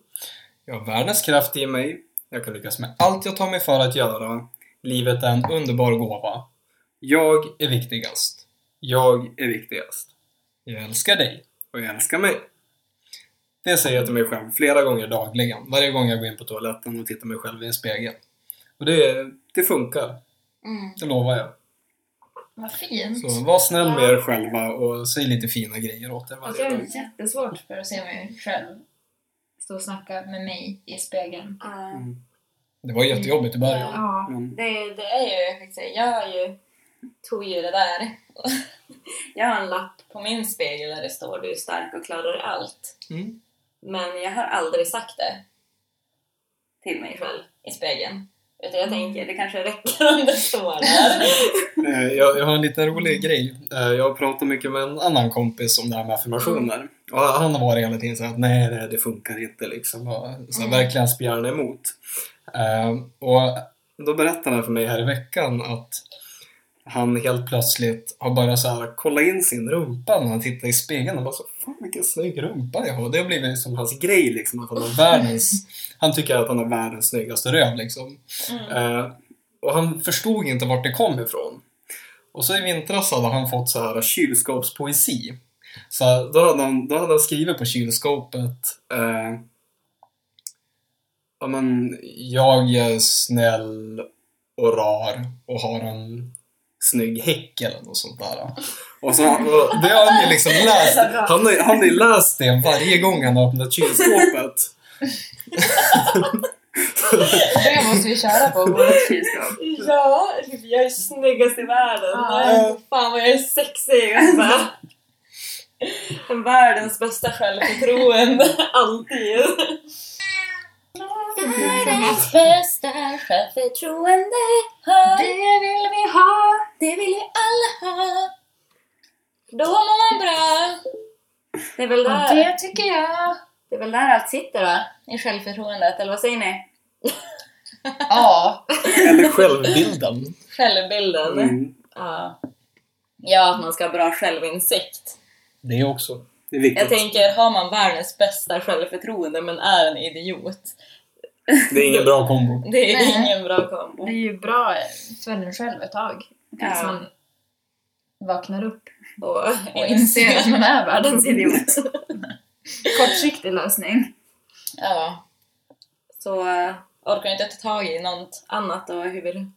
A: jag har världens kraft i mig, jag kan lyckas med allt jag tar mig för att göra, livet är en underbar gåva, Jag är viktigast. Jag är viktigast. Jag älskar dig. Och jag älskar mig. Det säger jag till mig själv flera gånger dagligen. Varje gång jag går in på toaletten och tittar mig själv i en spegel. Och det, det funkar.
B: Mm.
A: Det lovar jag.
B: Vad fint.
A: Så var snäll med er själva och säg lite fina grejer åt er
B: Alltså,
A: varje
B: jag
A: dag.
B: har jättesvårt för att se mig själv stå och snacka med mig i spegeln.
C: Ja.
A: Mm. Det var jättejobbigt i början.
B: Ja.
D: Mm.
C: Eh, Det, det är ju faktiskt, jag har ju, tog ju det där. <laughs> Jag har en lapp på min spegel där det står du är stark och klarar allt.
A: Mm.
C: Men jag har aldrig sagt det till mig själv i spegeln. Utan jag tänker, det kanske räcker om det står där.
A: Eh, Jag, jag har en liten rolig grej. Eh, Jag pratar mycket med en annan kompis om det här med affirmationer. Och han har varit hela tiden såhär att nej, nej, det funkar inte liksom. Och så här, verkligen spjärna emot. Eh, Och då berättade han för mig här i veckan att han helt plötsligt har bara så här kollat in sin rumpa när han tittar i spegeln och bara så Fan vilken snygg rumpa jag har. Det har blivit som hans grej liksom. Att han, har världens, han tycker att han har världens snyggaste röv liksom. Eh, och han förstod inte vart det kom ifrån. Och så i vintras hade han fått så här kylskåpspoesi. Så då hade han, då hade han skrivit på kylskåpet eh, ja, men, Jag är snäll och rar och har en snygg häck eller något sånt där.
D: Och så har
A: Och det har han ju liksom läst. Han har, han har ju läst det varje gång han har öppnat kylskåpet.
B: Det måste vi köra på vårt kylskåp.
C: Ja, typ, jag är snyggast i världen.
B: Ja.
C: Fan vad jag är sexig. Jag bara, Världens bästa självförtroende, <laughs> alltid. Världens bästa självförtroende
B: Det vill vi ha!
C: Det vill ju alla ha Då mår man bra Det är väl
B: Och
C: där,
B: det tycker jag!
C: det är väl där allt sitter va? I självförtroendet, eller vad säger ni?
B: Ja.
D: Eller själv.
A: Bilden.
C: Självbilden
D: Mm.
C: ja. ja, att man ska ha bra självinsikt
A: Det också.
D: Det är viktigt.
C: Jag tänker, har man världens bästa självförtroende men är en idiot
D: Det är ingen bra.
A: Bra kombo.
C: Det är
B: Nej.
C: ingen bra kombo
B: Det är ju bra för en själv ett tag. Tills
C: Ja.
B: man vaknar upp
C: Och,
B: och inser att man är <laughs> världens idiot. Kortsiktig lösning.
C: Ja. Så eh, orkar du inte ta tag i något annat och hur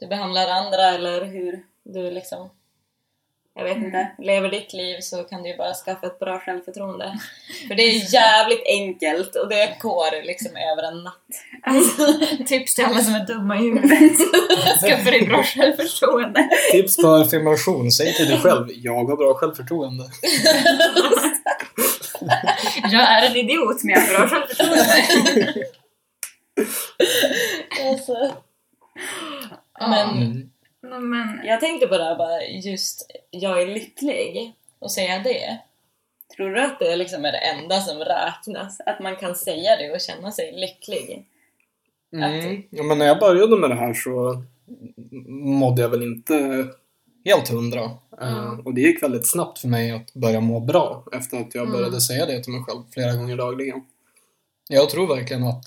C: du behandlar andra eller hur du liksom, jag vet inte,
B: Mm.
C: lever ditt liv så kan du ju bara skaffa ett bra
B: <laughs>
C: självförtroende. För det är jävligt enkelt och det går liksom över en natt.
B: Tips till alla som är dumma
C: <laughs>
B: i huvudet. Skaffa dig bra självförtroende.
A: Tips på affirmation. Säg till dig själv, jag har bra självförtroende.
B: <laughs> Jag är en idiot men jag har
C: <laughs>
B: bra självförtroende.
C: Alltså.
B: Ja.
C: Men
B: Nej, men,
C: jag tänkte på det här bara just, jag är lycklig och säga det. Tror du att det liksom är det enda som räknas? Att man kan säga det och känna sig lycklig?
A: Mm.
D: Ja, men när jag började med det här så mådde jag väl inte...
A: Helt hundra.
D: eh,
B: Mm.
D: Och det gick väldigt snabbt
A: Snabbt för mig att börja må bra.
D: efter att jag
B: Mm.
D: började säga det till mig själv flera gånger dagligen.
A: Jag tror verkligen att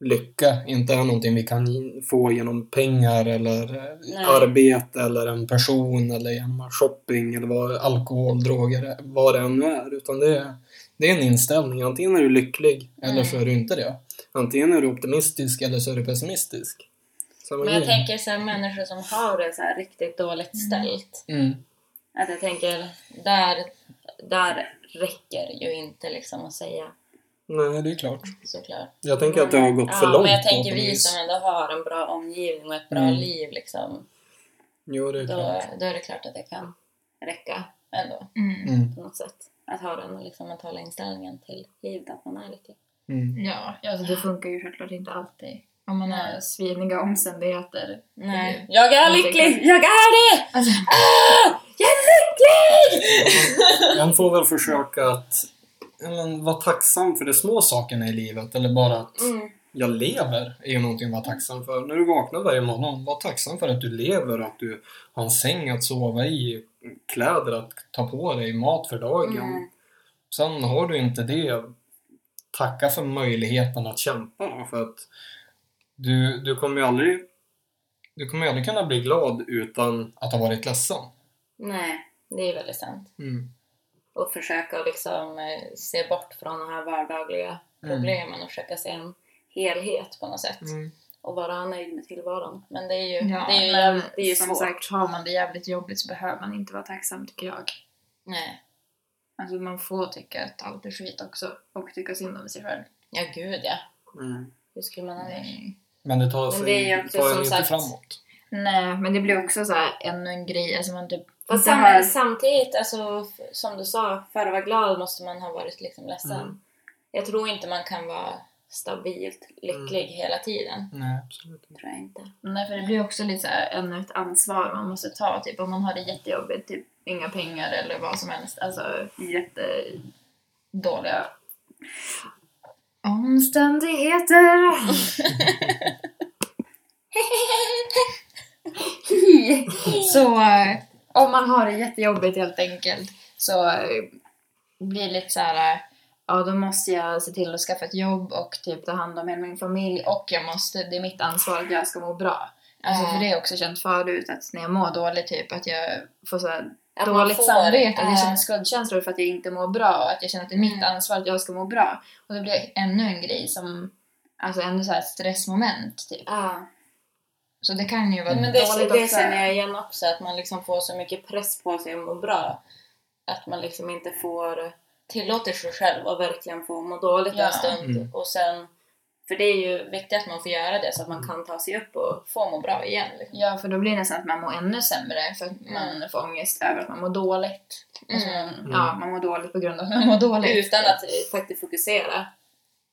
A: lycka inte är någonting vi kan
D: Få genom
A: genom pengar eller eh,
C: Nej.
D: arbete eller
A: eller en person eller genom
D: shopping eller vad,
A: alkohol, droger,
D: vad det än är. Utan det är,
A: Det är en inställning.
D: antingen är du lycklig,
A: Eller så är du inte det.
D: antingen är du optimist
A: Mystisk eller så är du pessimistisk.
D: samma
C: Men jag
D: grej.
C: tänker så här, människor som har det så här riktigt dåligt ställt.
A: Mm.
C: Att jag tänker, där, där räcker ju inte liksom att säga
A: Nej, det är klart.
C: såklart.
D: Jag tänker att det har gått
C: ja,
D: för långt
C: Men jag
D: på
C: tänker
D: något
C: vi
D: vis.
C: som ändå har en bra omgivning och ett bra
A: Mm.
C: liv liksom.
A: Jo, det är
C: Då,
A: klart.
C: då är det klart att det kan räcka ändå
B: mm,
A: Mm.
C: på något sätt. Att ha den liksom, mentala inställningen till livet, att man är lycklig.
A: Mm.
B: ja, alltså det funkar ju självklart inte alltid. Om man har sviniga omständigheter.
C: Nej, jag är
B: Mm.
C: lycklig! Jag är det! Ah!
B: Alltså,
C: Jag är lycklig!
A: Man får väl försöka att ja, men, vara tacksam för de små sakerna i livet. Eller bara att
C: Mm.
A: jag lever är ju någonting att vara tacksam för. När du vaknar varje morgon, var tacksam för att du lever, att du har en säng att sova i, kläder att ta på dig, mat för dagen.
C: Mm.
A: Sen har du inte det, tacka för möjligheten att kämpa då, för att du, du kommer ju aldrig Du kommer ju aldrig kunna bli glad utan att ha varit ledsen.
C: Nej, det är väldigt sant.
A: Mm.
C: Och försöka liksom eh, se bort från de här vardagliga problemen och försöka se en helhet på något sätt.
A: Mm.
C: Och vara nöjd med tillvaron. Men det är ju,
B: Ja,
C: det är ju,
B: men
C: jävligt- det är ju
B: som
C: svårt.
B: sagt, har man det jävligt jobbigt så behöver man inte vara tacksam tycker jag.
C: Nej.
B: Alltså man får tycka att allt är skit också och tycka synd om sig själv.
C: Ja, gud ja.
A: Mm.
C: Hur skulle man annars...
A: Men det tar,
C: Men
A: sig,
C: det är ju också
A: tar en
C: som
A: inte
C: sagt-
A: framåt.
B: Nej, men det blir också så här ännu en grej. Alltså man typ...
C: Fast
B: det
C: sam-
B: här-
C: samtidigt, alltså, f- som du sa, för att vara glad måste man ha varit liksom ledsen.
A: Mm.
C: Jag tror inte man kan vara stabilt
B: Mm.
C: lycklig hela tiden.
A: Nej, absolut inte.
C: Tror jag inte.
B: Nej, för det blir också lite så här ännu ett ansvar man måste ta. Typ om man har det jättejobbigt, typ inga pengar eller vad som helst. Alltså jättedåliga omständigheter. så eh, om man har det jättejobbigt helt enkelt så eh, blir det lite så här eh, ja då måste jag se till att skaffa ett jobb och typ ta hand om hela min familj och jag måste, det är mitt ansvar att jag ska må bra. Alltså
C: Ja.
B: för det har jag också känt förut att när jag mår dåligt typ att jag får så här
C: Att man
B: dåligt
C: får,
B: samvete, att
C: eh,
B: jag känner skuldkänslor för att jag inte mår bra och att jag känner att det är mitt
C: Mm.
B: ansvar att jag ska må bra. Och det blir ännu en grej som, alltså ännu så här stressmoment typ.
C: Ja.
B: Så det kan ju vara
C: Men det,
B: dåligt
C: det
B: också.
C: känner jag igen också, att man liksom får så mycket press på sig att må bra. Att man liksom inte får tillåter sig själv att verkligen få må dåligt
B: Ja.
C: en stund.
A: Mm.
C: Och sen, för det är ju viktigt att man får göra det så att man kan ta sig upp och få må bra igen. Liksom.
B: Ja, för då blir det nästan att man mår ännu sämre för att
C: Mm.
B: man får ångest över att man mår dåligt. Alltså, man, ja, man mår dåligt på grund av att man mår dåligt.
C: Utan att faktiskt fokusera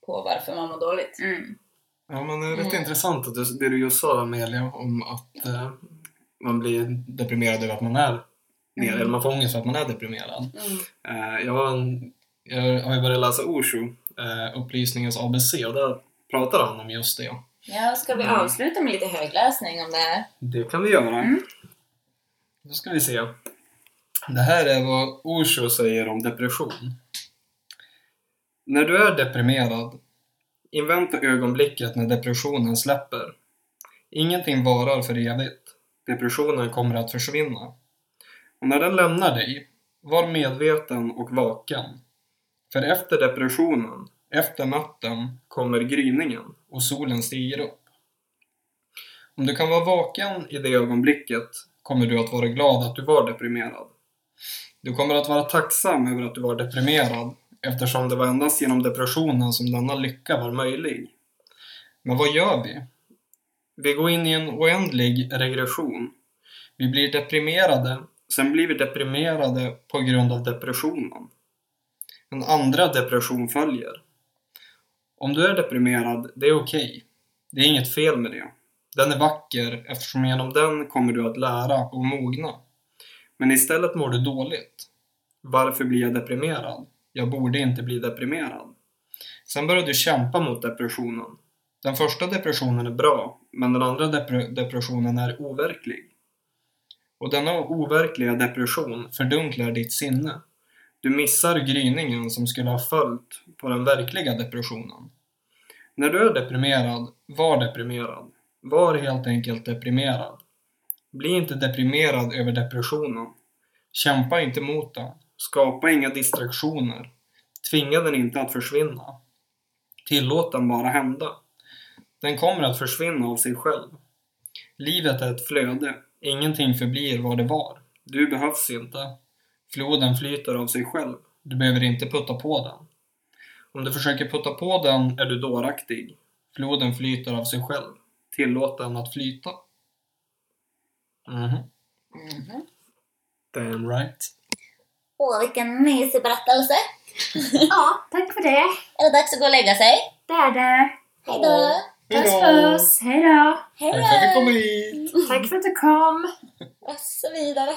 C: på varför man mår dåligt.
B: Mm.
A: Ja, men det är rätt
C: Mm.
A: intressant att du, det du just sa Amelia om att eh, man blir deprimerad över att man är nere,
C: Mm.
A: eller man får ångest för att man är deprimerad. Eh, jag, har en, jag har ju börjat läsa Osho, eh, Upplysningens ABC, och där pratar han om just det.
C: Ja, ska vi avsluta med lite högläsning om det här?
A: Det kan vi göra. Då ska vi se. Det här är vad Osho säger om depression. När du är deprimerad, invänta ögonblicket när depressionen släpper. Ingenting varar för evigt. Depressionen kommer att försvinna. Och när den lämnar dig, var medveten och vaken. För efter depressionen, efter natten, kommer gryningen och solen stiger upp. Om du kan vara vaken i det ögonblicket kommer du att vara glad att du var deprimerad. Du kommer att vara tacksam över att du var deprimerad eftersom det var endast genom depressionen som denna lycka var möjlig. Men vad gör vi? Vi går in i en oändlig regression. Vi blir deprimerade, sen blir vi deprimerade på grund av depressionen. En andra depression följer. Om du är deprimerad, det är okej. Det är inget fel med det. Den är vacker eftersom genom den kommer du att lära och mogna. Men istället mår du dåligt. Varför blir jag deprimerad? Jag borde inte bli deprimerad. Sen börjar du kämpa mot depressionen. Den första depressionen är bra, men den andra depre- depressionen är overklig. Och denna overkliga depression fördunklar ditt sinne. Du missar gryningen som skulle ha följt på den verkliga depressionen. När du är deprimerad, var deprimerad. Var helt enkelt deprimerad. Bli inte deprimerad över depressionen. Kämpa inte mot den. Skapa inga distraktioner. Tvinga den inte att försvinna. Tillåt den bara hända. Den kommer att försvinna av sig själv. Livet är ett flöde. Ingenting förblir vad det var. Du behövs inte. Floden flyter av sig själv. Du behöver inte putta på den. Om du försöker putta på den är du dåraktig. Floden flyter av sig själv. Tillåt den att flyta. Mhm.
C: Mhm.
A: Damn right.
C: Åh, vilken mysig berättelse!
B: Ja, tack för det.
C: Är det dags att gå och lägga sig?
B: Det är det.
C: Hejdå!
B: Puss puss, hejdå!
C: Hejdå!
A: Tack för att du kom hit!
B: Tack för att du kom!
C: Och så vidare.